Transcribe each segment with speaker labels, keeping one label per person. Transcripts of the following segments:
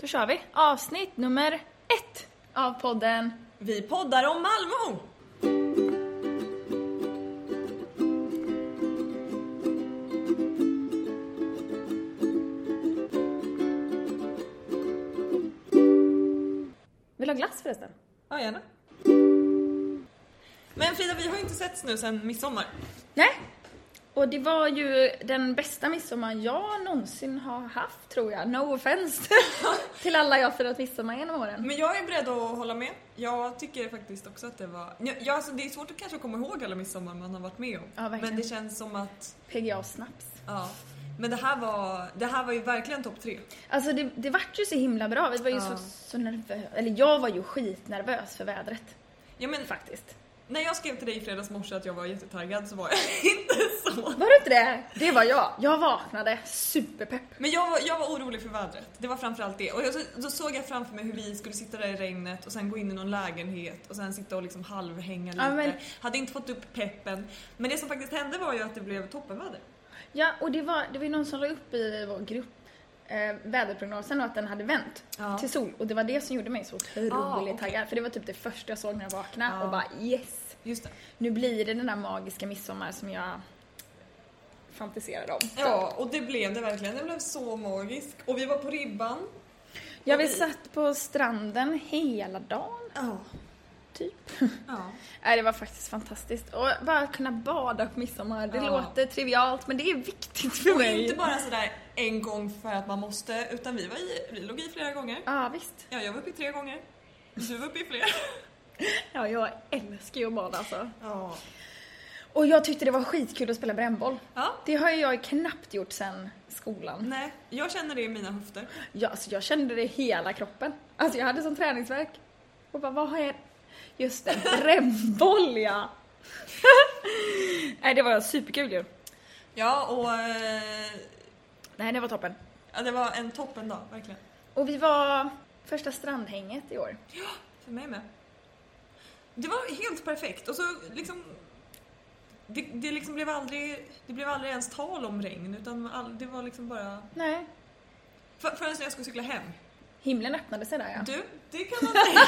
Speaker 1: Då kör vi. Avsnitt nummer ett av podden.
Speaker 2: Vi poddar om Malmö!
Speaker 1: Vill du ha glass förresten?
Speaker 2: Ja, gärna. Men Frida, vi har ju inte setts nu sedan midsommar.
Speaker 1: Nej. Och det var ju den bästa midsommar jag någonsin har haft tror jag. No offense till alla jag firat midsommar genom åren.
Speaker 2: Men jag är beredd att hålla med. Jag tycker faktiskt också att det var... Ja, Ja, alltså det är svårt att kanske komma ihåg alla midsommar man har varit med om.
Speaker 1: Ja, verkligen.
Speaker 2: men det känns som att...
Speaker 1: PGA och snaps.
Speaker 2: Ja. Men det här var, det här var ju verkligen topp tre.
Speaker 1: Alltså det, det vart ju så himla bra. Vi var ju så,
Speaker 2: Ja.
Speaker 1: så nervösa. Eller jag var ju skitnervös för vädret.
Speaker 2: Ja, men
Speaker 1: Faktiskt.
Speaker 2: när jag skrev till dig i fredags morse att jag var jättetaggad så var jag inte så.
Speaker 1: Var det inte det? Det var jag. Jag vaknade superpepp.
Speaker 2: Men jag var, jag var orolig för vädret. Det var framförallt det. Och jag, så- då såg jag framför mig hur vi skulle sitta där i regnet och sen gå in i någon lägenhet och sen sitta och liksom halvhänga lite.
Speaker 1: Ja, men-
Speaker 2: Hade inte fått upp peppen. Men det som faktiskt hände var ju att det blev toppenväder.
Speaker 1: Ja, och det var, det var ju någon som la upp i vår grupp eh, väderprognosen och att den hade vänt
Speaker 2: Ja.
Speaker 1: till sol. Och det var det som gjorde mig så otroligt
Speaker 2: Ah, okej.
Speaker 1: taggad. För det var typ det första jag såg när jag vaknade
Speaker 2: Ja.
Speaker 1: och bara yes!
Speaker 2: Just det.
Speaker 1: Nu blir det den där magiska midsommar som jag fantiserade om.
Speaker 2: Ja, och det blev det verkligen. Det blev så magiskt. Och vi var på ribban.
Speaker 1: Jag vi
Speaker 2: vi-
Speaker 1: satt på stranden hela dagen,
Speaker 2: Ja.
Speaker 1: typ.
Speaker 2: ja.
Speaker 1: Nej, det var faktiskt fantastiskt. Och bara kunna bada på midsommar, det
Speaker 2: Ja.
Speaker 1: låter trivialt men det är viktigt för
Speaker 2: Och
Speaker 1: mig.
Speaker 2: inte bara sådär en gång för att man måste, utan vi, var i, vi låg i flera gånger.
Speaker 1: Ja, visst.
Speaker 2: Ja, jag var uppe i tre gånger. Du var uppe i fler.
Speaker 1: Ja, jag älskar ju att bada alltså.
Speaker 2: Ja.
Speaker 1: Och jag tyckte det var skitkul att spela brännboll.
Speaker 2: ja.
Speaker 1: Det har ju jag knappt gjort sedan skolan.
Speaker 2: Nej, jag känner det i mina höfter.
Speaker 1: Jag, alltså, jag kände det i hela kroppen. Alltså jag hade sån träningsvärk. Och bara, vad har jag... Just det, brännboll ja! Nej, det var superkul ju.
Speaker 2: Ja, och eh,
Speaker 1: Nej, det var toppen.
Speaker 2: ja, det var en toppen dag, verkligen.
Speaker 1: Och vi var första strandhänget i år.
Speaker 2: För mig med. Det var helt perfekt. Och så liksom... Det, det, liksom blev aldrig, det blev aldrig ens tal om regn, utan all, det var liksom bara...
Speaker 1: Nej.
Speaker 2: För, förrän när jag skulle cykla hem.
Speaker 1: Himlen öppnade sig där ja.
Speaker 2: Du, det kan man säga.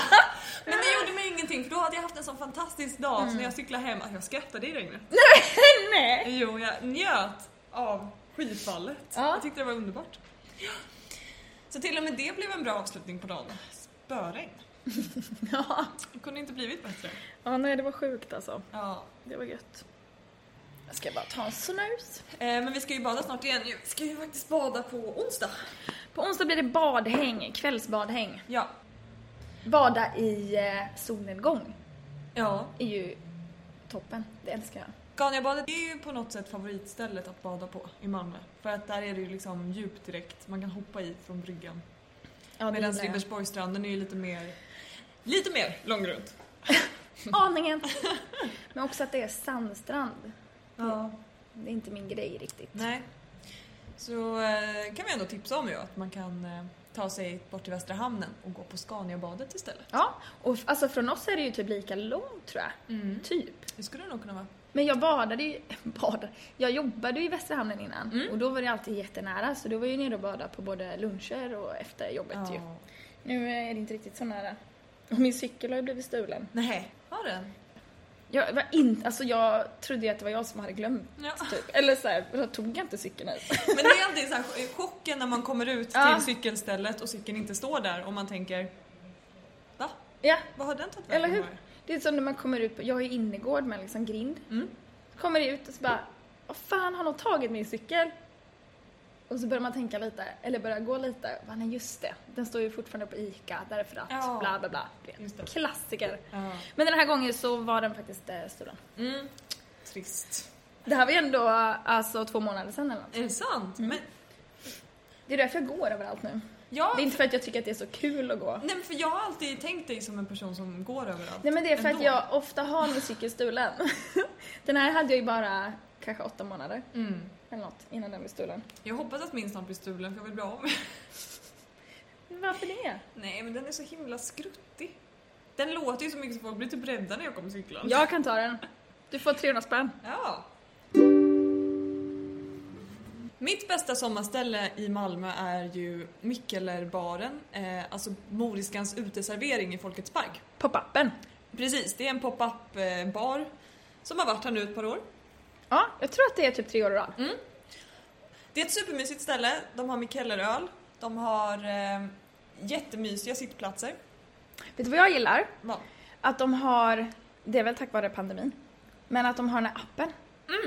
Speaker 2: Men det gjorde mig ingenting, för då hade jag haft en sån fantastisk dag, så när jag cyklade hem, att jag skrattade i regnet.
Speaker 1: Nej!
Speaker 2: Jo, jag njöt av skifallet.
Speaker 1: Ja.
Speaker 2: Jag tyckte det var underbart. Så till och med det blev en bra avslutning på dagen. Spöregn.
Speaker 1: Ja.
Speaker 2: Det kunde inte blivit bättre.
Speaker 1: ja, nej det var sjukt alltså.
Speaker 2: Ja.
Speaker 1: Det var gött. Jag ska bara ta en snus.
Speaker 2: Eh, men vi ska ju bada snart igen. Vi ska ju faktiskt bada på onsdag.
Speaker 1: På onsdag blir det badhäng, kvällsbadhäng.
Speaker 2: Ja.
Speaker 1: Bada i eh, solnedgång
Speaker 2: Ja.
Speaker 1: är ju toppen. Det älskar jag.
Speaker 2: Scaniabadet är ju på något sätt favoritstället att bada på i Malmö. För att där är det ju liksom djupt direkt. Man kan hoppa i från bryggan.
Speaker 1: Ja,
Speaker 2: Medan
Speaker 1: gillar jag.
Speaker 2: Ribersborgsstranden är ju lite mer... Lite mer långrunt.
Speaker 1: Aningen! Men också att det är sandstrand.
Speaker 2: Ja.
Speaker 1: Det är inte min grej riktigt.
Speaker 2: Nej. Så eh, kan vi ändå tipsa om ju att man kan eh, ta sig bort till Västra hamnen och gå på Scaniabadet istället.
Speaker 1: Ja, och f- alltså från oss är det ju typ lika långt tror jag. Typ.
Speaker 2: Det skulle det nog kunna vara.
Speaker 1: Men jag badade ju, badade, jag jobbade ju i Västra hamnen innan
Speaker 2: Mm.
Speaker 1: och då var det alltid jättenära så då var jag ju nere och badade på både luncher och efter jobbet ju.
Speaker 2: Ja.
Speaker 1: Nu är det inte riktigt så nära. Och min cykel har ju blivit stulen.
Speaker 2: Nej, har den?
Speaker 1: Jag var inte, alltså jag trodde ju att det var jag som hade glömt
Speaker 2: Ja.
Speaker 1: typ. Eller såhär, jag tog jag inte cykeln ens?
Speaker 2: Men det är alltid så här, chocken när man kommer ut
Speaker 1: Ja.
Speaker 2: till cykelstället och cykeln inte står där och man tänker Va?
Speaker 1: ja,
Speaker 2: Vad har den tagit vägen?
Speaker 1: eller hur?
Speaker 2: bara?"
Speaker 1: Det är som när man kommer ut, på, jag har ju innergård med liksom grind.
Speaker 2: Mm.
Speaker 1: Kommer ut och så bara, vad fan har någon tagit min cykel? Och så börjar man tänka lite, eller börjar gå lite. Bara, nej just det, den står ju fortfarande på ICA därför att
Speaker 2: Ja. Mm.
Speaker 1: bla bla bla. Du vet.
Speaker 2: Just det.
Speaker 1: Klassiker.
Speaker 2: Ja.
Speaker 1: Men den här gången så var den faktiskt eh, stulen.
Speaker 2: Mm. Trist.
Speaker 1: Det här var ju ändå alltså två månader sedan eller något.
Speaker 2: Är det sant?
Speaker 1: Mm.
Speaker 2: Men,
Speaker 1: Det är därför jag går överallt nu.
Speaker 2: ja,
Speaker 1: Det är inte för att jag tycker att det är så kul att gå.
Speaker 2: nej, men för jag har alltid tänkt dig som en person som går överallt.
Speaker 1: Nej men det är för att
Speaker 2: Ändå.
Speaker 1: jag ofta har min cykel stulen. den här hade jag ju bara kanske åtta månader
Speaker 2: Mm.
Speaker 1: eller något innan den blev stulen.
Speaker 2: Jag hoppas att min snart blir stulen för jag vill bli av med
Speaker 1: Varför det?
Speaker 2: Nej, men den är så himla skruttig. Den låter ju så mycket så folk blir typ rädda när jag kommer cyklande.
Speaker 1: Jag kan ta den. Du får 300 spänn.
Speaker 2: Ja. Mitt bästa sommarställe i Malmö är ju Mickeler-baren, eh, alltså Moriskans uteservering i Folkets park.
Speaker 1: Pop-upen.
Speaker 2: Precis, det är en pop-up eh, bar som har varit här nu ett par år.
Speaker 1: Ja, jag tror att det är typ tre år i rad.
Speaker 2: Det är ett supermysigt ställe, de har Mickeleröl, de har eh, jättemysiga sittplatser.
Speaker 1: Vet du vad jag gillar?
Speaker 2: Va?
Speaker 1: Att de har, det är väl tack vare pandemin, men att de har den här appen.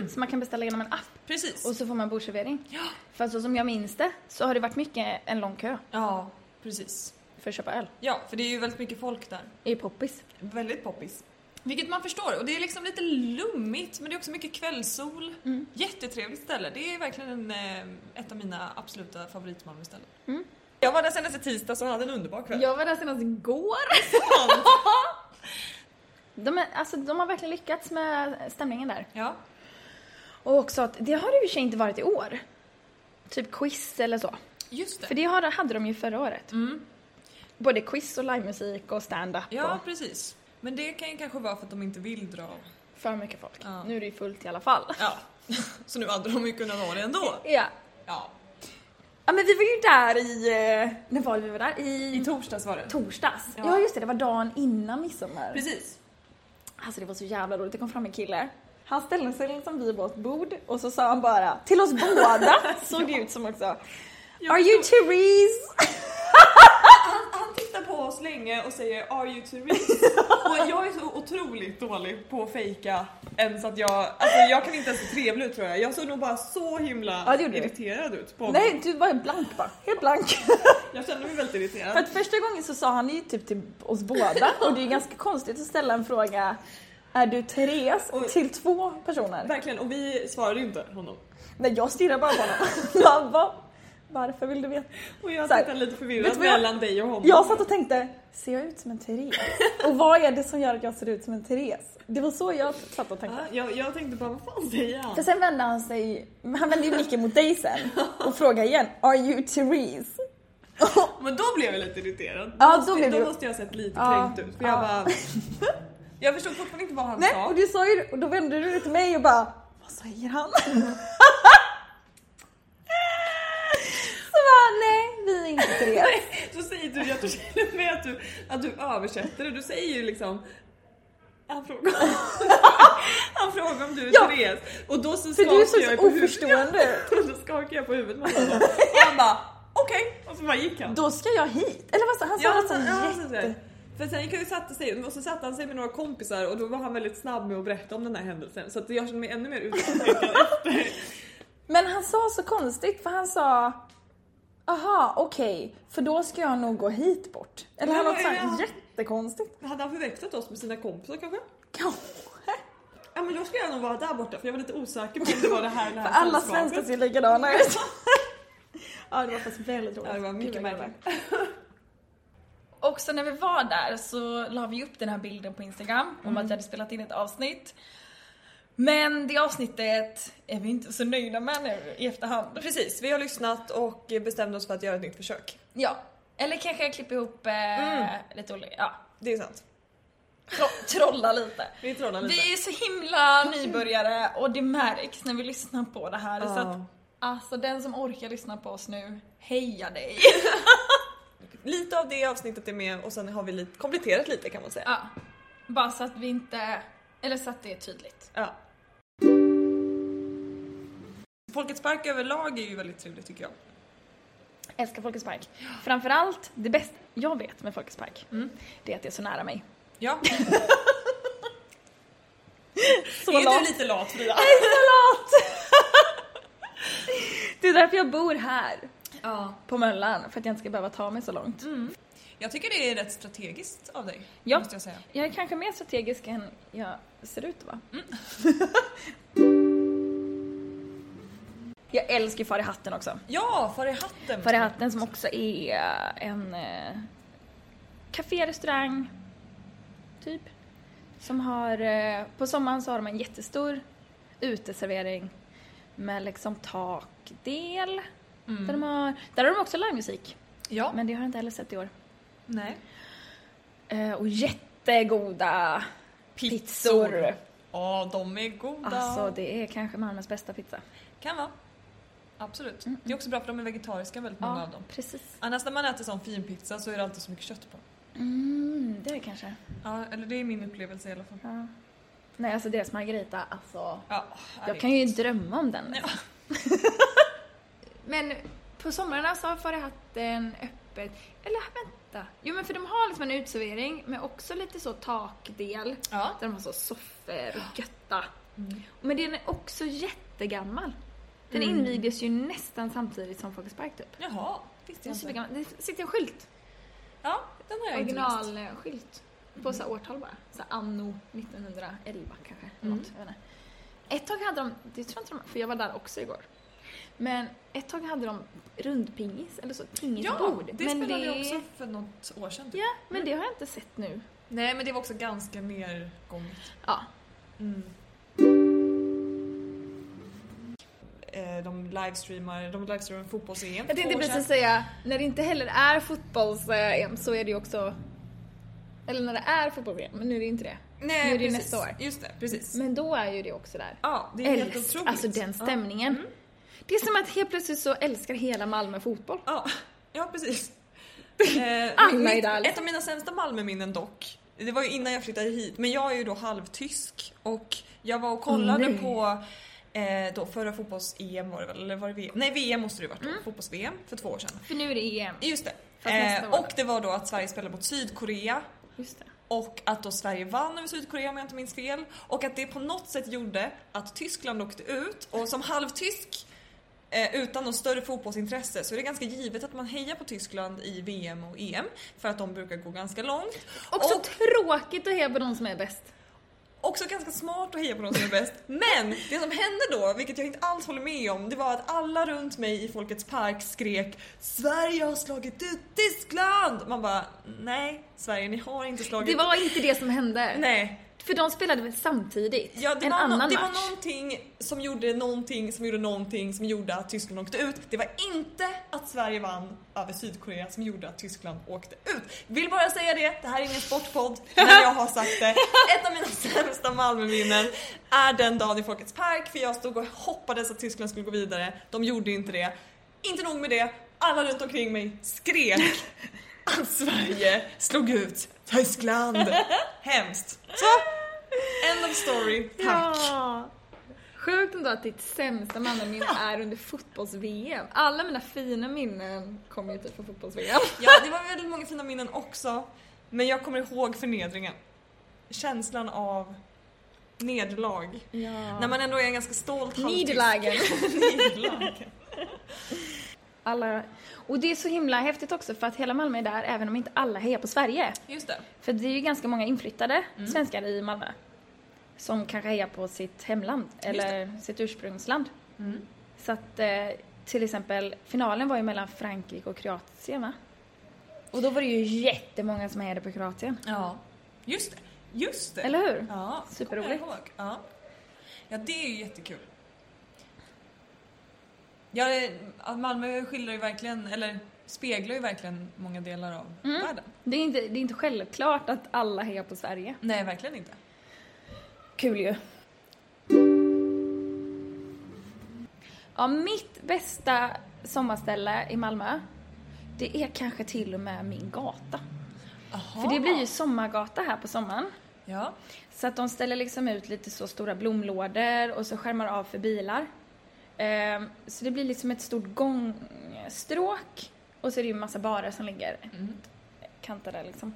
Speaker 1: Så man kan beställa genom en app
Speaker 2: Precis.
Speaker 1: och så får man bordservering.
Speaker 2: Ja.
Speaker 1: För så som jag minns det så har det varit mycket en lång kö
Speaker 2: ja, precis.
Speaker 1: för att köpa öl.
Speaker 2: Ja, för det är ju väldigt mycket folk där.
Speaker 1: I poppis.
Speaker 2: Väldigt poppis. Vilket man förstår. Och det är liksom lite lummigt men det är också mycket kvällssol. Jättetrevligt ställe. Det är verkligen en, eh, ett av mina absoluta favoritmalmöställen.
Speaker 1: Mm.
Speaker 2: Jag var där senaste tisdag så hade en underbar kväll.
Speaker 1: Jag var där senast igår. De, är, alltså, de har verkligen lyckats med stämningen där.
Speaker 2: Ja.
Speaker 1: Och också att det har det i och för sig inte varit i år. Typ quiz eller så.
Speaker 2: Just
Speaker 1: För
Speaker 2: det.
Speaker 1: det har, hade de ju förra året.
Speaker 2: Mm.
Speaker 1: Både quiz och livemusik och stand-up
Speaker 2: Ja,
Speaker 1: och
Speaker 2: precis. Men det kan ju kanske vara för att de inte vill dra.
Speaker 1: för mycket folk.
Speaker 2: Ja.
Speaker 1: Nu är det ju fullt i alla fall.
Speaker 2: Ja. Så nu hade de ju kunnat vara det ändå.
Speaker 1: Ja.
Speaker 2: Ja.
Speaker 1: ja, men vi var ju där i... eh, När var det vi var där? I,
Speaker 2: I torsdags var det.
Speaker 1: torsdags. Ja.
Speaker 2: Ja.
Speaker 1: just det, det var dagen innan midsommar.
Speaker 2: Precis.
Speaker 1: Alltså det var så jävla roligt, det kom fram en kille. Han ställde sig liksom vid vårt bord och så sa han bara till oss båda, såg det ut som också. Are you Therese?
Speaker 2: Han tittar på oss länge och säger “Are you tourist?” och jag är så otroligt dålig på att fejka ens att jag, alltså jag kan inte ens se trevlig ut tror jag. Jag såg nog bara så himla
Speaker 1: Ja, det gjorde du.
Speaker 2: irriterad ut på honom.
Speaker 1: Nej, du var blank bara. Helt blank.
Speaker 2: Jag kände mig väldigt irriterad.
Speaker 1: För att första gången så sa han ju typ till oss båda och det är ju ganska konstigt att ställa en fråga är du Therese
Speaker 2: Och-
Speaker 1: till två personer?
Speaker 2: Verkligen, och vi svarade ju inte honom.
Speaker 1: Nej, jag stirrar bara på honom. Jag bara, varför vill du veta?
Speaker 2: Och jag
Speaker 1: Så här,
Speaker 2: tittade lite
Speaker 1: vet
Speaker 2: förvirrad
Speaker 1: du vad jag-
Speaker 2: mellan dig och honom.
Speaker 1: Jag satt och tänkte, ser jag ut som en Therese? Och vad är det som gör att jag ser ut som en Therese? Det var så jag satt och tänkte.
Speaker 2: Ja, jag, jag tänkte bara vad fan säger han?
Speaker 1: För sen vände han sig, han vände ju blicken mot dig sen och frågade igen, Are you Therese?
Speaker 2: Men då blev jag lite irriterad.
Speaker 1: Ja, typ, då
Speaker 2: måste,
Speaker 1: blev
Speaker 2: då
Speaker 1: du-
Speaker 2: måste jag ha sett lite
Speaker 1: Ja,
Speaker 2: kränkt ut. För jag
Speaker 1: ja.
Speaker 2: bara... Jag förstod fortfarande inte vad han
Speaker 1: Nej,
Speaker 2: sa.
Speaker 1: och du sa ju och då vände du dig till mig och bara, vad säger han? Så bara, nej vi är inte Therese.
Speaker 2: Så säger du, jag tror till och med att du, att du översätter det. Du säger ju liksom han frågar, han frågar om du är
Speaker 1: Ja.
Speaker 2: Therese och då så
Speaker 1: För
Speaker 2: skakar
Speaker 1: du såg
Speaker 2: jag
Speaker 1: så
Speaker 2: på huvudet.
Speaker 1: oförstående ut.
Speaker 2: Ja, Då skakar jag på huvudet med honom. Och han bara okej och så bara gick han.
Speaker 1: Då ska jag hit. Eller vad sa han?
Speaker 2: Ja,
Speaker 1: han
Speaker 2: så,
Speaker 1: sa
Speaker 2: ja,
Speaker 1: något
Speaker 2: så,
Speaker 1: sånt
Speaker 2: så.
Speaker 1: jätte...
Speaker 2: här. För sen gick han ju och satte sig och så satte han sig med några kompisar och då var han väldigt snabb med att berätta om den här händelsen så att jag känner mig ännu mer utskickad efter.
Speaker 1: Men han sa så konstigt för han sa Aha, okej, för då ska jag nog gå hit bort. Eller han
Speaker 2: Ja,
Speaker 1: något så här
Speaker 2: ja.
Speaker 1: jättekonstigt.
Speaker 2: Hade han förväxlat oss med sina kompisar kanske?
Speaker 1: Kanske.
Speaker 2: Ja men då skulle jag nog vara där borta för jag var lite osäker på om det var det här eller det
Speaker 1: För
Speaker 2: här
Speaker 1: alla
Speaker 2: sällskapet.
Speaker 1: svenskar ser likadana ut. ja, det var faktiskt väldigt roligt.
Speaker 2: Ja, det var mycket
Speaker 1: Gud, vad
Speaker 2: märkligt.
Speaker 1: kul.
Speaker 3: Också när vi var där så la vi upp den här bilden på Instagram om
Speaker 1: Mm.
Speaker 3: att jag hade spelat in ett avsnitt. Men det avsnittet är vi inte så nöjda med nu i efterhand.
Speaker 2: Precis, vi har lyssnat och bestämde oss för att göra ett nytt försök.
Speaker 3: Ja. Eller kanske jag klipper ihop eh,
Speaker 2: Mm.
Speaker 3: lite olika, ja.
Speaker 2: Det är sant.
Speaker 3: Tro, trolla lite.
Speaker 2: Vi trollar lite.
Speaker 3: Vi är så himla nybörjare och det märks när vi lyssnar på det här. Så att,
Speaker 2: Ja.
Speaker 3: alltså den som orkar lyssna på oss nu, heja dig!
Speaker 2: Lite av det avsnittet är med och sen har vi lite, kompletterat lite kan man säga.
Speaker 3: Ja. Bara så att vi inte, eller så att det är tydligt.
Speaker 2: Ja. Folkets park överlag är ju väldigt trevligt tycker jag.
Speaker 1: Älskar Folkets Park. Framförallt, det bästa jag vet med Folkets Park,
Speaker 3: Mm.
Speaker 1: det är att det är så nära mig.
Speaker 2: Ja.
Speaker 1: Så
Speaker 2: är
Speaker 1: långt.
Speaker 2: du lite lat Frida?
Speaker 1: Det är därför jag bor här,
Speaker 2: Ja.
Speaker 1: på Möllan, för att jag inte ska behöva ta mig så långt.
Speaker 3: Mm.
Speaker 2: Jag tycker det är rätt strategiskt av dig.
Speaker 1: Ja.
Speaker 2: Måste jag säga.
Speaker 1: Jag är kanske mer strategisk än jag ser ut va? Mm. jag älskar ju Far i hatten också.
Speaker 2: Ja, far i hatten.
Speaker 1: Far i hatten som också är en eh, café-restaurang, typ. Som har, eh, på sommaren så har de en jättestor uteservering med liksom takdel. Där, de har, där har de också livemusik,
Speaker 2: Mm. Ja.
Speaker 1: men det har jag inte heller sett i år.
Speaker 2: Nej.
Speaker 1: Eh, och jättegoda pizzor.
Speaker 2: Ja, de är goda.
Speaker 1: Alltså det är kanske Malmös bästa pizza.
Speaker 2: Kan vara. Absolut. Det är också bra för de är vegetariska väldigt många
Speaker 1: Mm, Ja,
Speaker 2: av dem.
Speaker 1: precis.
Speaker 2: Annars när man äter sån finpizza så är det alltid så mycket kött på.
Speaker 1: Mm, det är det kanske.
Speaker 2: Ja, eller det är min upplevelse i alla fall.
Speaker 1: Ja. Nej, alltså deras margarita, alltså.
Speaker 2: Ja,
Speaker 1: Jag kan ju drömma om den. alltså.
Speaker 2: Ja.
Speaker 1: men på somrarna så har Farihatten öppet. Eller vänta. Jo men för de har liksom en utservering med också lite så takdel.
Speaker 2: Ja.
Speaker 1: Där de har så soffor och götta. Men den är också jättegammal. Den
Speaker 2: Mm.
Speaker 1: invigdes ju nästan samtidigt som Folkets Park typ.
Speaker 2: Jaha, visste
Speaker 1: Den är
Speaker 2: jag inte.
Speaker 1: supergammal. Det sitter en skylt.
Speaker 2: Ja, den har jag inte Mm. läst.
Speaker 1: Originalskylt. På så här årtal bara. Så här anno 1911 kanske. eller
Speaker 2: Mm.
Speaker 1: Något, jag vet inte. Ett tag hade de, det tror jag inte de, för jag var där också igår. Men ett tag hade de rundpingis, eller så,
Speaker 2: Ja,
Speaker 1: pingisbord.
Speaker 2: det
Speaker 1: men
Speaker 2: spelade jag också för något år sedan. Typ.
Speaker 1: Ja, men det har jag inte sett nu.
Speaker 2: Nej, men det var också ganska nergånget.
Speaker 1: Ja. Mm.
Speaker 2: Eh, De livestreamar, de livestreamar fotbolls em
Speaker 1: Jag tänkte precis säga, när det inte heller är fotbolls eh, så är det ju också... Eller när det är fotbolls men nu är det inte det.
Speaker 2: Nej,
Speaker 1: nu är det ju
Speaker 2: precis.
Speaker 1: nästa år.
Speaker 2: Just det, precis.
Speaker 1: Men då är ju det också där.
Speaker 2: ja, det är helt
Speaker 1: Älsk,
Speaker 2: otroligt. Mm.
Speaker 1: alltså den stämningen. Det är som att helt plötsligt så älskar hela Malmö fotboll.
Speaker 2: Ja, ja precis. Eh,
Speaker 1: Alla
Speaker 2: mitt-
Speaker 1: är där.
Speaker 2: Ett av mina sämsta Malmöminnen dock, det var ju innan jag flyttade hit, men jag är ju då halvtysk och jag var och kollade
Speaker 1: nej.
Speaker 2: på eh, då förra fotbolls-EM var det väl, eller var det VM? Nej VM måste det ju varit då, fotbolls-VM för två år sedan.
Speaker 1: För nu är Mm.
Speaker 2: E
Speaker 1: det EM.
Speaker 2: Just det.
Speaker 1: Fast nästa
Speaker 2: Eh,
Speaker 1: år.
Speaker 2: och det var då att Sverige spelade mot Sydkorea
Speaker 1: Just det.
Speaker 2: och att då Sverige vann över Sydkorea om jag inte minns fel. Och att det på något sätt gjorde att Tyskland åkte ut och som halvtysk eh, utan något större fotbollsintresse så är det ganska givet att man hejar på Tyskland i VM och EM för att de brukar gå ganska långt.
Speaker 1: Också
Speaker 2: och
Speaker 1: tråkigt att heja på de som är bäst.
Speaker 2: också ganska smart att heja på de som är bäst. Men det som hände då, vilket jag inte alls håller med om, det var att alla runt mig i Folkets Park skrek Sverige har slagit ut Tyskland! Man bara, nej Sverige ni har inte slagit
Speaker 1: Det var inte det som hände.
Speaker 2: Nej,
Speaker 1: För de spelade väl samtidigt?
Speaker 2: Ja, det
Speaker 1: en
Speaker 2: var no-
Speaker 1: annan
Speaker 2: det
Speaker 1: match.
Speaker 2: var någonting som gjorde någonting som gjorde någonting som gjorde att Tyskland åkte ut. Det var inte att Sverige vann över Sydkorea som gjorde att Tyskland åkte ut. Vill bara säga det, det här är ingen sportpodd, men jag har sagt det. Ett av mina sämsta Malmöminnen är den dagen i Folkets Park för jag stod och hoppades att Tyskland skulle gå vidare. De gjorde inte det. Inte nog med det, alla runt omkring mig skrek att Sverige slog ut Tyskland. Hemskt. Så, end of story. Tack.
Speaker 1: Ja. Sjukt ändå att ditt sämsta mannaminne är under fotbolls-VM. Alla mina fina minnen kommer ju typ från fotbolls-VM.
Speaker 2: Ja, det var väldigt många fina minnen också. Men jag kommer ihåg förnedringen. Känslan av nederlag. När man ändå är en ganska stolt halvtysk.
Speaker 1: Nederlagen.
Speaker 2: Nederlag.
Speaker 1: Alla. Och det är så himla häftigt också för att hela Malmö är där även om inte alla hejar på Sverige.
Speaker 2: Just det.
Speaker 1: För det är ju ganska många inflyttade svenskar i Malmö. Som kanske hejar på sitt hemland eller sitt ursprungsland. Mm. Så att eh, till exempel finalen var ju mellan Frankrike och Kroatien va? Och då var det ju jättemånga som hejade på Kroatien.
Speaker 2: Ja. Just det. Just det.
Speaker 1: Eller hur?
Speaker 2: Ja,
Speaker 1: Superroligt.
Speaker 2: kommer jag ihåg. Ja. ja, det är ju jättekul. Ja, det- ja, Malmö skildrar ju verkligen, eller speglar ju verkligen många delar av
Speaker 1: Mm.
Speaker 2: världen.
Speaker 1: Det är, inte, det är inte självklart att alla hejar på Sverige.
Speaker 2: Nej, verkligen inte.
Speaker 1: Kul ju. Ja, mitt bästa sommarställe i Malmö, det är kanske till och med min gata.
Speaker 2: Aha.
Speaker 1: För det blir ju sommargata här på sommaren.
Speaker 2: Ja.
Speaker 1: Så att de ställer liksom ut lite så stora blomlådor och så skärmar av för bilar. Ehm, så det blir liksom ett stort gångstråk och så är det ju en massa barer som ligger
Speaker 2: Mm.
Speaker 1: kantade liksom.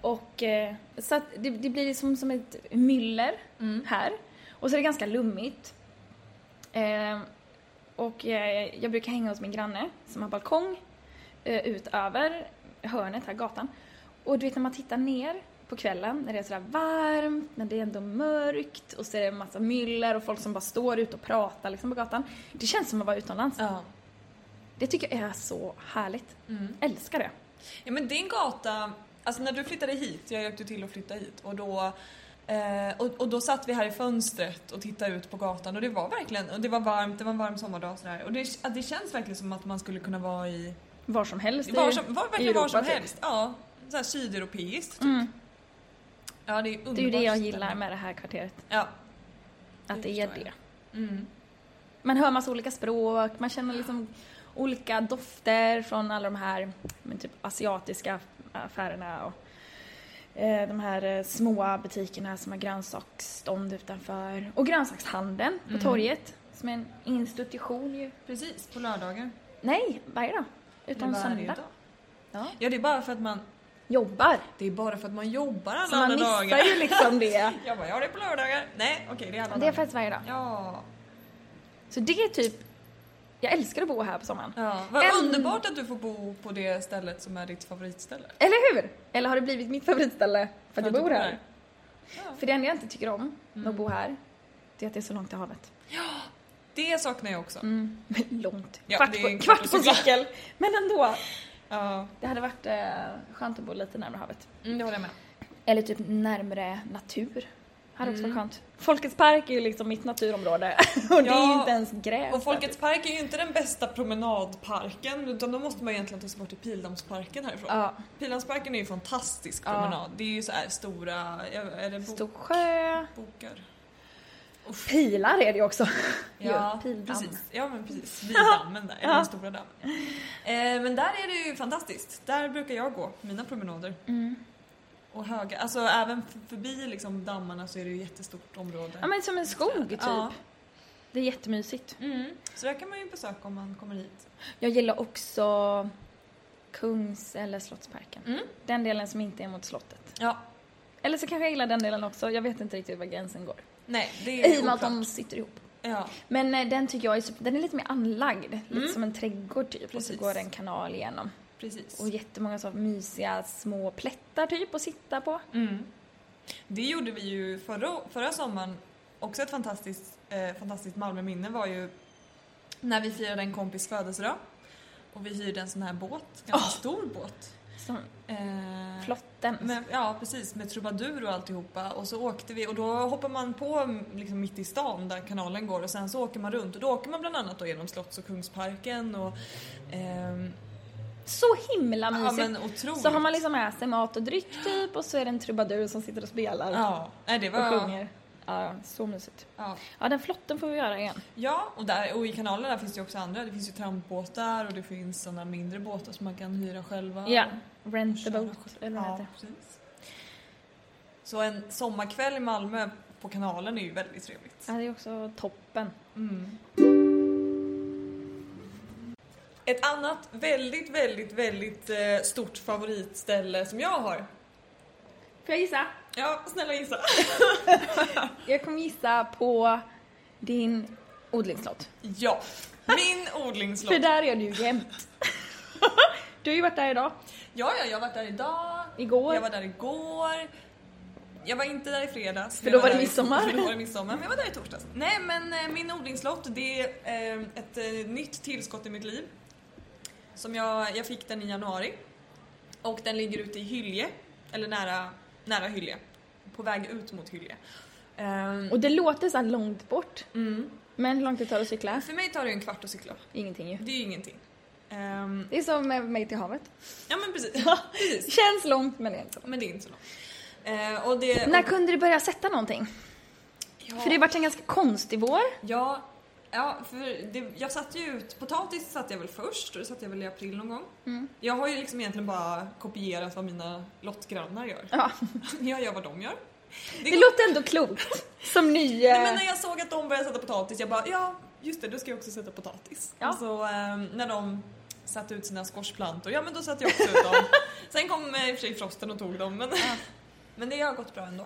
Speaker 1: Och eh, så att det, det blir liksom som ett myller
Speaker 2: Mm.
Speaker 1: här. Och så är det ganska lummigt. Ehm, och eh, jag brukar hänga hos min granne som har balkong eh, ut över hörnet här, gatan. Och du vet när man tittar ner på kvällen när det är sådär varmt, när det är ändå mörkt och så är det en massa myller och folk som bara står ute och pratar liksom på gatan. Det känns som att vara utomlands.
Speaker 2: ja. Mm.
Speaker 1: Det tycker jag är så härligt. Älskar det.
Speaker 2: Ja men din gata, alltså när du flyttade hit, jag hjälpte till att flytta hit och då Eh, och, och då satt vi här i fönstret och tittade ut på gatan och det var verkligen, och det var varmt, det var en varm sommardag och sådär. Och det, att det känns verkligen som att man skulle kunna vara i,
Speaker 1: Var som helst. i-
Speaker 2: var som, var, verkligen var
Speaker 1: Europa,
Speaker 2: som
Speaker 1: typ.
Speaker 2: helst. Ja, såhär sydeuropeiskt typ.
Speaker 1: Mm,
Speaker 2: Ja det är underbart.
Speaker 1: Det är ju det jag
Speaker 2: ställe.
Speaker 1: gillar med det här kvarteret.
Speaker 2: Ja.
Speaker 1: Att
Speaker 2: Det
Speaker 1: det är
Speaker 2: förstår
Speaker 1: det.
Speaker 2: jag. Mm.
Speaker 4: man hör massa olika språk, man känner liksom olika dofter från alla de här men typ asiatiska affärerna och eh, de här eh, små butikerna som har grönsaksstånd utanför och grönsakshandeln
Speaker 2: Mm.
Speaker 4: på torget som är en institution ju.
Speaker 2: Precis, på lördagar.
Speaker 4: Nej, varje dag. Utom
Speaker 2: Varje
Speaker 4: söndag.
Speaker 2: dag.
Speaker 4: Ja.
Speaker 2: Ja, det är bara för att man
Speaker 4: Jobbar.
Speaker 2: Det är bara för att man jobbar alla
Speaker 4: Så man
Speaker 2: andra
Speaker 4: missar
Speaker 2: dagar.
Speaker 4: ju liksom det.
Speaker 2: Jag bara, ja det är på lördagar. Nej, okej det är alla
Speaker 4: Det är
Speaker 2: dagar.
Speaker 4: faktiskt varje dag.
Speaker 2: Ja.
Speaker 4: Så det är typ, jag älskar att bo här på sommaren.
Speaker 2: ja. Vad
Speaker 4: En-
Speaker 2: underbart att du får bo på det stället som är ditt favoritställe.
Speaker 4: Eller hur? Eller har det blivit mitt favoritställe för att jag
Speaker 2: du
Speaker 4: bor här?
Speaker 2: Ja.
Speaker 4: För det enda jag inte tycker om med att bo här, det är att det är så långt till havet.
Speaker 2: Det saknar jag också.
Speaker 4: Men långt.
Speaker 2: Ja,
Speaker 4: kvart
Speaker 2: det är
Speaker 4: på,
Speaker 2: en
Speaker 4: kvart
Speaker 2: kvart
Speaker 4: på
Speaker 2: att cykla.
Speaker 4: cykel. Men ändå.
Speaker 2: Ja,
Speaker 4: Det hade varit eh, skönt att bo lite närmare havet.
Speaker 2: mm, det håller jag med.
Speaker 4: Eller typ närmare natur. Hade också varit skönt. Folkets park är ju liksom mitt naturområde. Och det är ju
Speaker 2: Ja,
Speaker 4: inte ens gräs. typ.
Speaker 2: Och Folkets park är ju inte den bästa promenadparken utan då måste man egentligen ta sig bort till Pildammsparken härifrån.
Speaker 4: Ja,
Speaker 2: Pildammsparken är ju en fantastisk
Speaker 4: Ja.
Speaker 2: promenad. Det är ju så här stora, ja, är det bo-
Speaker 4: stor sjö.
Speaker 2: bokar?
Speaker 4: Pilar är det ju också.
Speaker 2: Ja,
Speaker 4: Pildamm.
Speaker 2: precis. Ja men precis, vid dammen där, eller
Speaker 4: Ja.
Speaker 2: den stora dammen. Eh, men där är det ju fantastiskt. Där brukar jag gå mina promenader.
Speaker 4: Mm.
Speaker 2: Och höga, alltså även f- förbi liksom dammarna så är det ju jättestort område.
Speaker 4: Ja men som en skog typ.
Speaker 2: Ja.
Speaker 4: Det är jättemysigt.
Speaker 2: Mm. Så där kan man ju besöka om man kommer hit.
Speaker 4: Jag gillar också Kungs eller Slottsparken.
Speaker 2: Mm.
Speaker 4: Den delen som inte är mot slottet.
Speaker 2: Ja,
Speaker 4: Eller så kanske jag gillar den delen också, jag vet inte riktigt var gränsen går.
Speaker 2: nej det är
Speaker 4: I och med att de sitter ihop.
Speaker 2: Ja,
Speaker 4: Men eh, den tycker jag är, super- den är lite mer anlagd, lite
Speaker 2: Mm.
Speaker 4: som en trädgård typ. Och så
Speaker 2: Precis.
Speaker 4: går det en kanal igenom.
Speaker 2: precis.
Speaker 4: Och jättemånga så mysiga små plättar typ att sitta på.
Speaker 2: Mm. Det gjorde vi ju förra, förra sommaren. Också ett fantastiskt, eh, fantastiskt Malmöminne var ju när vi firade en kompis födelsedag. Och vi hyrde en sån här båt, ganska
Speaker 4: Ah.
Speaker 2: stor båt.
Speaker 4: Som
Speaker 2: Eh,
Speaker 4: flotten.
Speaker 2: Med, ja precis, med trubadur och alltihopa. Och så åkte vi och då hoppar man på mm, liksom, mitt i stan där kanalen går och sen så åker man runt och då åker man bland annat då genom Slotts och Kungsparken och... ehm,
Speaker 4: Så himla
Speaker 2: ja
Speaker 4: mysigt!
Speaker 2: men otroligt.
Speaker 4: så har man liksom med sig mat och dryck typ och så är det en trubadur som sitter och spelar
Speaker 2: Ja, nej, det
Speaker 4: och
Speaker 2: var...
Speaker 4: sjunger. Ja, så mysigt.
Speaker 2: Ja.
Speaker 4: Ja, den flotten får vi göra igen.
Speaker 2: ja, och, där, och i kanalen där finns det ju också andra. Det finns ju trampbåtar och det finns sådana mindre båtar som man kan hyra själva.
Speaker 4: Ja, Rent the
Speaker 2: Köra
Speaker 4: boat,
Speaker 2: själv.
Speaker 4: eller vad det
Speaker 2: ja,
Speaker 4: heter.
Speaker 2: precis. Så en sommarkväll i Malmö på kanalen är ju väldigt trevligt.
Speaker 4: Ja, det är också toppen.
Speaker 2: Mm. Ett annat väldigt, väldigt, väldigt eh, stort favoritställe som jag har.
Speaker 4: Får jag gissa?
Speaker 2: Ja, snälla gissa.
Speaker 4: Jag kommer gissa på din odlingslott.
Speaker 2: Ja, min odlingslott.
Speaker 4: För där är du ju jämt. du har ju varit där idag,
Speaker 2: Ja, ja, jag var där idag.
Speaker 4: igår.
Speaker 2: Jag var där igår. Jag var inte där i fredags.
Speaker 4: För
Speaker 2: Jag
Speaker 4: då var det
Speaker 2: där i-
Speaker 4: midsommar.
Speaker 2: För då var det midsommar, men jag var där i torsdags. Nej, men eh, min odlingslott det är eh, ett eh, nytt tillskott i mitt liv. Som jag, jag fick den i januari. Och den ligger ute i Hylje, eller nära, nära Hylje. På väg ut mot Hylje. Ehm,
Speaker 4: Och det låter så här långt bort,
Speaker 2: mm.
Speaker 4: men hur långt det tar att cykla?
Speaker 2: För mig tar det ju en kvart att cykla.
Speaker 4: Ingenting ju.
Speaker 2: Det är ju ingenting. Ehm,
Speaker 4: Det är som med mig till havet.
Speaker 2: ja men precis. Ja, precis.
Speaker 4: Känns långt, men det är inte så långt.
Speaker 2: Men det är inte så långt. Ehm, och det...
Speaker 4: När kunde du börja sätta någonting?
Speaker 2: ja.
Speaker 4: För det har varit en ganska konstig vår.
Speaker 2: Ja, ja för det, jag satte ju ut, potatis satte jag väl först och det satte jag väl i april någon gång.
Speaker 4: Mm.
Speaker 2: Jag har ju liksom egentligen bara kopierat vad mina lottgrannar gör.
Speaker 4: Ja.
Speaker 2: Jag gör vad de gör.
Speaker 4: Det
Speaker 2: går-
Speaker 4: låter ändå klokt. Som ny... eh,
Speaker 2: Nej, men när jag såg att de började sätta potatis, jag bara ja, just det, då ska jag också sätta potatis.
Speaker 4: Ja.
Speaker 2: Och så eh, när de satte ut sina squashplantor, ja men då satte jag också ut dem. Sen kom eh, i och för sig frosten och tog dem, men, men det har gått bra ändå.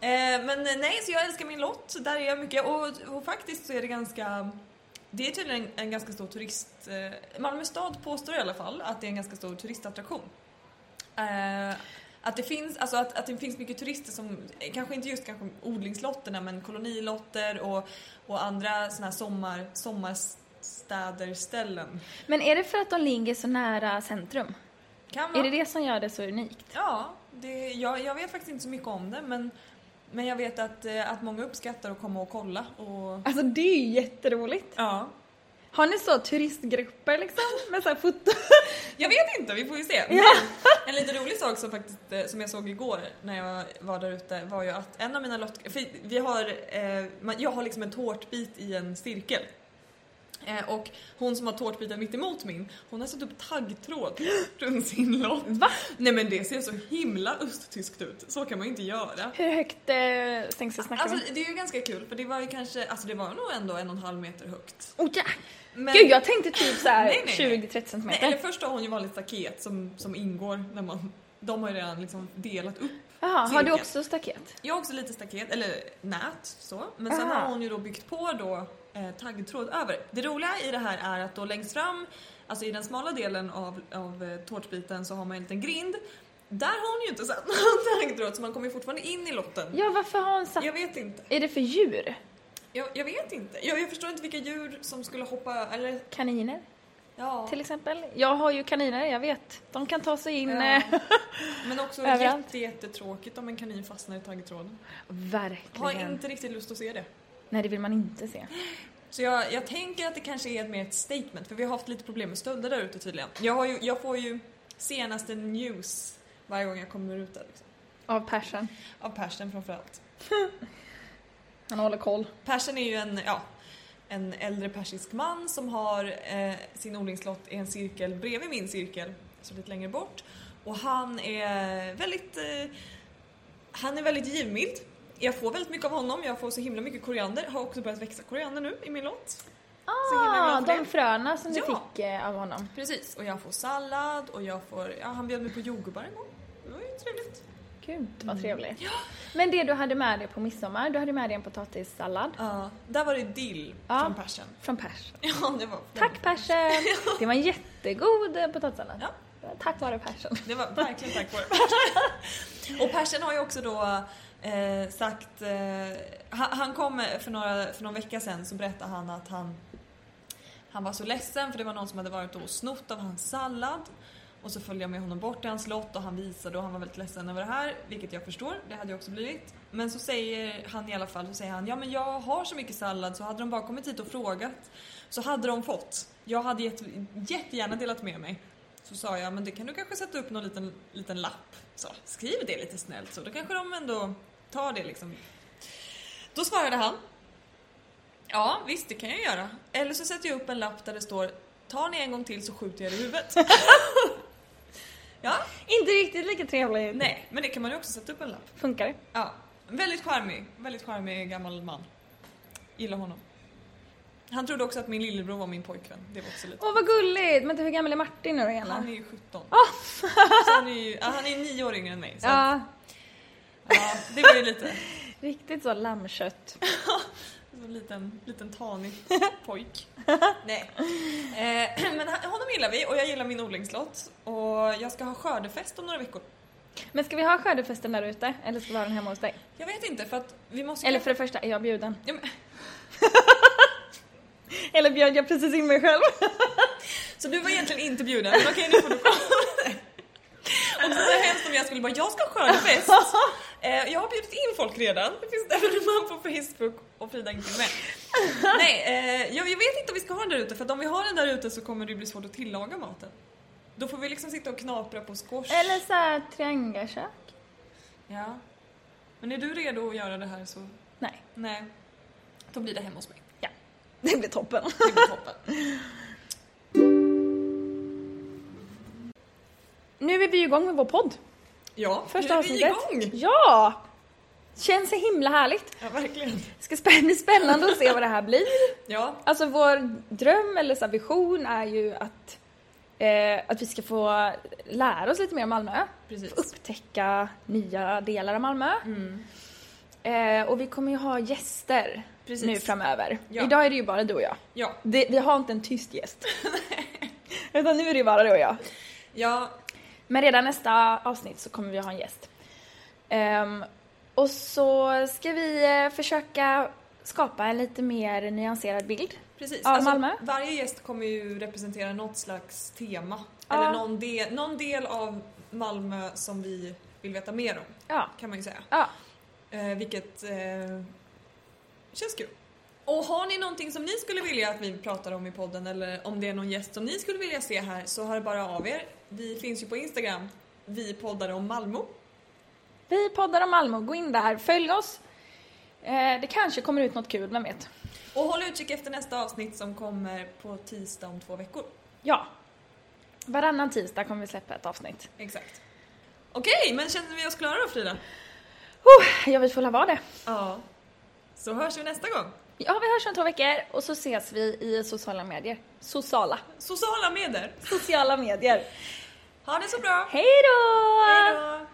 Speaker 2: Eh, men eh, nej, så jag älskar min lott, där är jag mycket och, och faktiskt så är det ganska det är tydligen en, en ganska stor turist... Eh, Malmö stad påstår i alla fall att det är en ganska stor turistattraktion. Eh, att det finns, alltså att, att det finns mycket turister som, eh, kanske inte just kanske odlingslotterna men kolonilotter och, och andra sådana här sommar, sommarstäder, ställen.
Speaker 4: Men är det för att de ligger så nära centrum?
Speaker 2: Kan
Speaker 4: Är
Speaker 2: vara-
Speaker 4: det det som gör det så unikt?
Speaker 2: Ja, det, jag, jag vet faktiskt inte så mycket om det men, men jag vet att, eh, att många uppskattar att komma och kolla och
Speaker 4: Alltså det är ju jätteroligt.
Speaker 2: ja.
Speaker 4: Har ni så turistgrupper liksom? Med så här foto?
Speaker 2: Jag vet inte, vi får ju se. En lite rolig sak som, faktiskt, eh, som jag såg igår när jag var där ute var ju att en av mina lott... För vi har, eh, man, jag har liksom en tårtbit i en cirkel. Eh, Och hon som har tårtbiten mitt emot min, hon har satt upp taggtråd runt sin lott.
Speaker 4: Va?
Speaker 2: Nej men det ser så himla östtyskt ut, så kan man ju inte göra.
Speaker 4: Hur högt eh, stängsel snackar vi?
Speaker 2: Alltså det är ju ganska kul för det var ju kanske, alltså det var nog ändå en och en halv meter högt.
Speaker 4: Åh ja.
Speaker 2: Men,
Speaker 4: Oh, Gud, jag tänkte typ
Speaker 2: Nej,
Speaker 4: såhär
Speaker 2: nej, nej.
Speaker 4: 20-30
Speaker 2: nej,
Speaker 4: centimeter.
Speaker 2: eller först har hon ju vanligt staket som, som ingår när man, de har ju redan liksom delat upp.
Speaker 4: Jaha, har du
Speaker 2: cirkel.
Speaker 4: också staket?
Speaker 2: Jag har också lite staket, eller nät så, men sen
Speaker 4: Aha.
Speaker 2: har hon ju då byggt på då eh, taggtråd över. Det roliga i det här är att då längst fram, alltså i den smala delen av, av eh, tårtbiten så har man en liten grind. Där har hon ju inte satt någon taggtråd så man kommer ju fortfarande in i lotten.
Speaker 4: Ja, varför har hon satt...
Speaker 2: Jag vet inte.
Speaker 4: Är det för djur?
Speaker 2: Jag, jag vet inte. Jag, jag förstår inte vilka djur som skulle hoppa eller
Speaker 4: Kaniner,
Speaker 2: ja.
Speaker 4: till exempel? Jag har ju kaniner, jag vet. De kan ta sig in...
Speaker 2: Ja.
Speaker 4: eh,
Speaker 2: Men också
Speaker 4: Överallt.
Speaker 2: jätte, jättetråkigt om en kanin fastnar i taggtråden. Har
Speaker 4: Verkligen.
Speaker 2: inte riktigt lust att se det.
Speaker 4: Nej, det vill man inte se.
Speaker 2: Så jag, jag tänker att det kanske är ett mer ett statement för vi har haft lite problem med stölder där ute tydligen. Jag, har ju, jag får ju senaste news varje gång jag kommer ut där. Liksom.
Speaker 4: Av Persson.
Speaker 2: Av Persen framförallt.
Speaker 4: Han håller koll.
Speaker 2: Persen är ju en, ja, en äldre persisk man som har eh, sin odlingslott i en cirkel bredvid min cirkel, så lite längre bort. Och han är väldigt, eh, han är väldigt givmild. Jag får väldigt mycket av honom, jag får så himla mycket koriander. Har också börjat växa koriander nu i min lott. Så himla
Speaker 4: Ah,
Speaker 2: glad för
Speaker 4: de
Speaker 2: det.
Speaker 4: fröna som du
Speaker 2: Ja.
Speaker 4: fick eh, av honom.
Speaker 2: Precis, och jag får sallad och jag får, ja han bjöd mig på jordgubbar en gång. Det var ju trevligt.
Speaker 4: Gud,
Speaker 2: Mm.
Speaker 4: vad trevligt. Men det du hade med dig på midsommar, du hade med dig en potatissallad
Speaker 2: Ja, där var det dill
Speaker 4: Ja.
Speaker 2: från Persen.
Speaker 4: från Persson.
Speaker 2: Ja, det var,
Speaker 4: Tack Persson! Det var en jättegod eh, potatissallad.
Speaker 2: Ja.
Speaker 4: Tack vare Persson.
Speaker 2: Det var verkligen tack vare Och Persen har ju också då eh, sagt, eh, han, han kom eh, för, några, för någon vecka sedan så berättade han att han, han var så ledsen för det var någon som hade varit och snott av hans sallad. Och så följde jag med honom bort till hans lott och han visade och han var väldigt ledsen över det här, vilket jag förstår, det hade jag också blivit. Men så säger han i alla fall, så säger han ja men jag har så mycket sallad så hade de bara kommit hit och frågat så hade de fått. Jag hade jätte, jättegärna delat med mig. Så sa jag, men det kan du kanske sätta upp någon liten, liten lapp. Så, skriv det lite snällt så, då kanske de ändå tar det liksom. Då svarade han. Ja, visst det kan jag göra. Eller så sätter jag upp en lapp där det står Tar ni en gång till så skjuter jag er i huvudet. ja,
Speaker 4: Inte riktigt lika trevligt.
Speaker 2: nej, men det kan man ju också sätta upp en lapp.
Speaker 4: Funkar det?
Speaker 2: Ja, väldigt charmig. Väldigt charmig gammal man. Gillar honom. Han trodde också att min lillebror var min pojkvän. Det var också lite...
Speaker 4: Åh vad gulligt! Men typ hur gammal är Martin nu då igen?
Speaker 2: Han är ju 17. Så han är ju ja, han är nio år yngre än mig. Så
Speaker 4: Ah. Ja,
Speaker 2: ja, det var ju lite...
Speaker 4: riktigt så lammkött.
Speaker 2: En liten, liten tanig pojk. Nej. Eh, men han- honom gillar vi och jag gillar min odlingslott. Och jag ska ha skördefest om några veckor.
Speaker 4: Men ska vi ha skördefesten där ute eller ska vi ha den hemma hos dig?
Speaker 2: Jag vet inte för att vi måste ju...
Speaker 4: Eller för det första, är jag bjuden?
Speaker 2: Ja, men-
Speaker 4: Eller bjöd jag precis in mig själv?
Speaker 2: Så du var egentligen inte bjuden, men okej nu får du komma. Och så var det hemskt om jag skulle bara, jag ska ha skördefest. Eh, jag har bjudit in folk redan. Det finns ett evenemang på Facebook och Frida är inte med. Nej, eh, jag, jag vet inte om vi ska ha den där ute för att om vi har den där ute så kommer det bli svårt att tillaga maten. Då får vi liksom sitta och knapra på squash.
Speaker 4: Eller så här triangakök?
Speaker 2: Ja. Men är du redo att göra det här så...
Speaker 4: Nej,
Speaker 2: Nej. Då blir det hemma hos mig.
Speaker 4: det blir toppen.
Speaker 2: Det blir toppen.
Speaker 4: Nu är vi ju igång med vår podd.
Speaker 2: Ja, nu
Speaker 4: Första
Speaker 2: är vi
Speaker 4: avsnittet.
Speaker 2: igång!
Speaker 4: Ja! Känns så himla härligt.
Speaker 2: Ja, verkligen.
Speaker 4: Det ska spä- bli spännande att se vad det här blir.
Speaker 2: Ja,
Speaker 4: Alltså vår dröm eller så här vision är ju att, eh, att vi ska få lära oss lite mer om Malmö.
Speaker 2: precis.
Speaker 4: Upptäcka nya delar av Malmö.
Speaker 2: Mm.
Speaker 4: Eh, och vi kommer ju ha gäster
Speaker 2: Precis.
Speaker 4: nu framöver.
Speaker 2: Ja.
Speaker 4: Idag är det ju bara du och jag.
Speaker 2: Ja.
Speaker 4: Det, vi har inte en tyst gäst. Utan nu är det ju bara du och jag.
Speaker 2: Ja,
Speaker 4: Men redan nästa avsnitt så kommer vi ha en gäst. Ehm, och så ska vi eh, försöka skapa en lite mer nyanserad bild.
Speaker 2: precis. Alltså,
Speaker 4: Ja, Malmö.
Speaker 2: Varje gäst kommer ju representera något slags tema.
Speaker 4: Ja.
Speaker 2: Eller någon del, någon del av Malmö som vi vill veta mer om,
Speaker 4: Ja.
Speaker 2: kan man ju säga.
Speaker 4: Ja.
Speaker 2: Eh, vilket eh, känns kul. Och har ni någonting som ni skulle vilja att vi pratar om i podden eller om det är någon gäst som ni skulle vilja se här så hör bara av er. Vi finns ju på Instagram. Vi poddar om Malmö.
Speaker 4: Vi poddar om Malmö, gå in där, följ oss. Eh, det kanske kommer ut något kul, vem vet?
Speaker 2: Och håll utkik efter nästa avsnitt som kommer på tisdag om två veckor.
Speaker 4: Ja. Varannan tisdag kommer vi släppa ett avsnitt.
Speaker 2: Exakt. Okej, men känner vi oss klara då Frida?
Speaker 4: Oh, jag vet väl vara det.
Speaker 2: Ja. Så hörs vi nästa gång.
Speaker 4: Ja, vi hörs om två veckor och så ses vi i sociala medier. Sociala.
Speaker 2: Sociala medier.
Speaker 4: Sociala medier.
Speaker 2: Ha det så bra.
Speaker 4: Hej då!
Speaker 2: Hej då.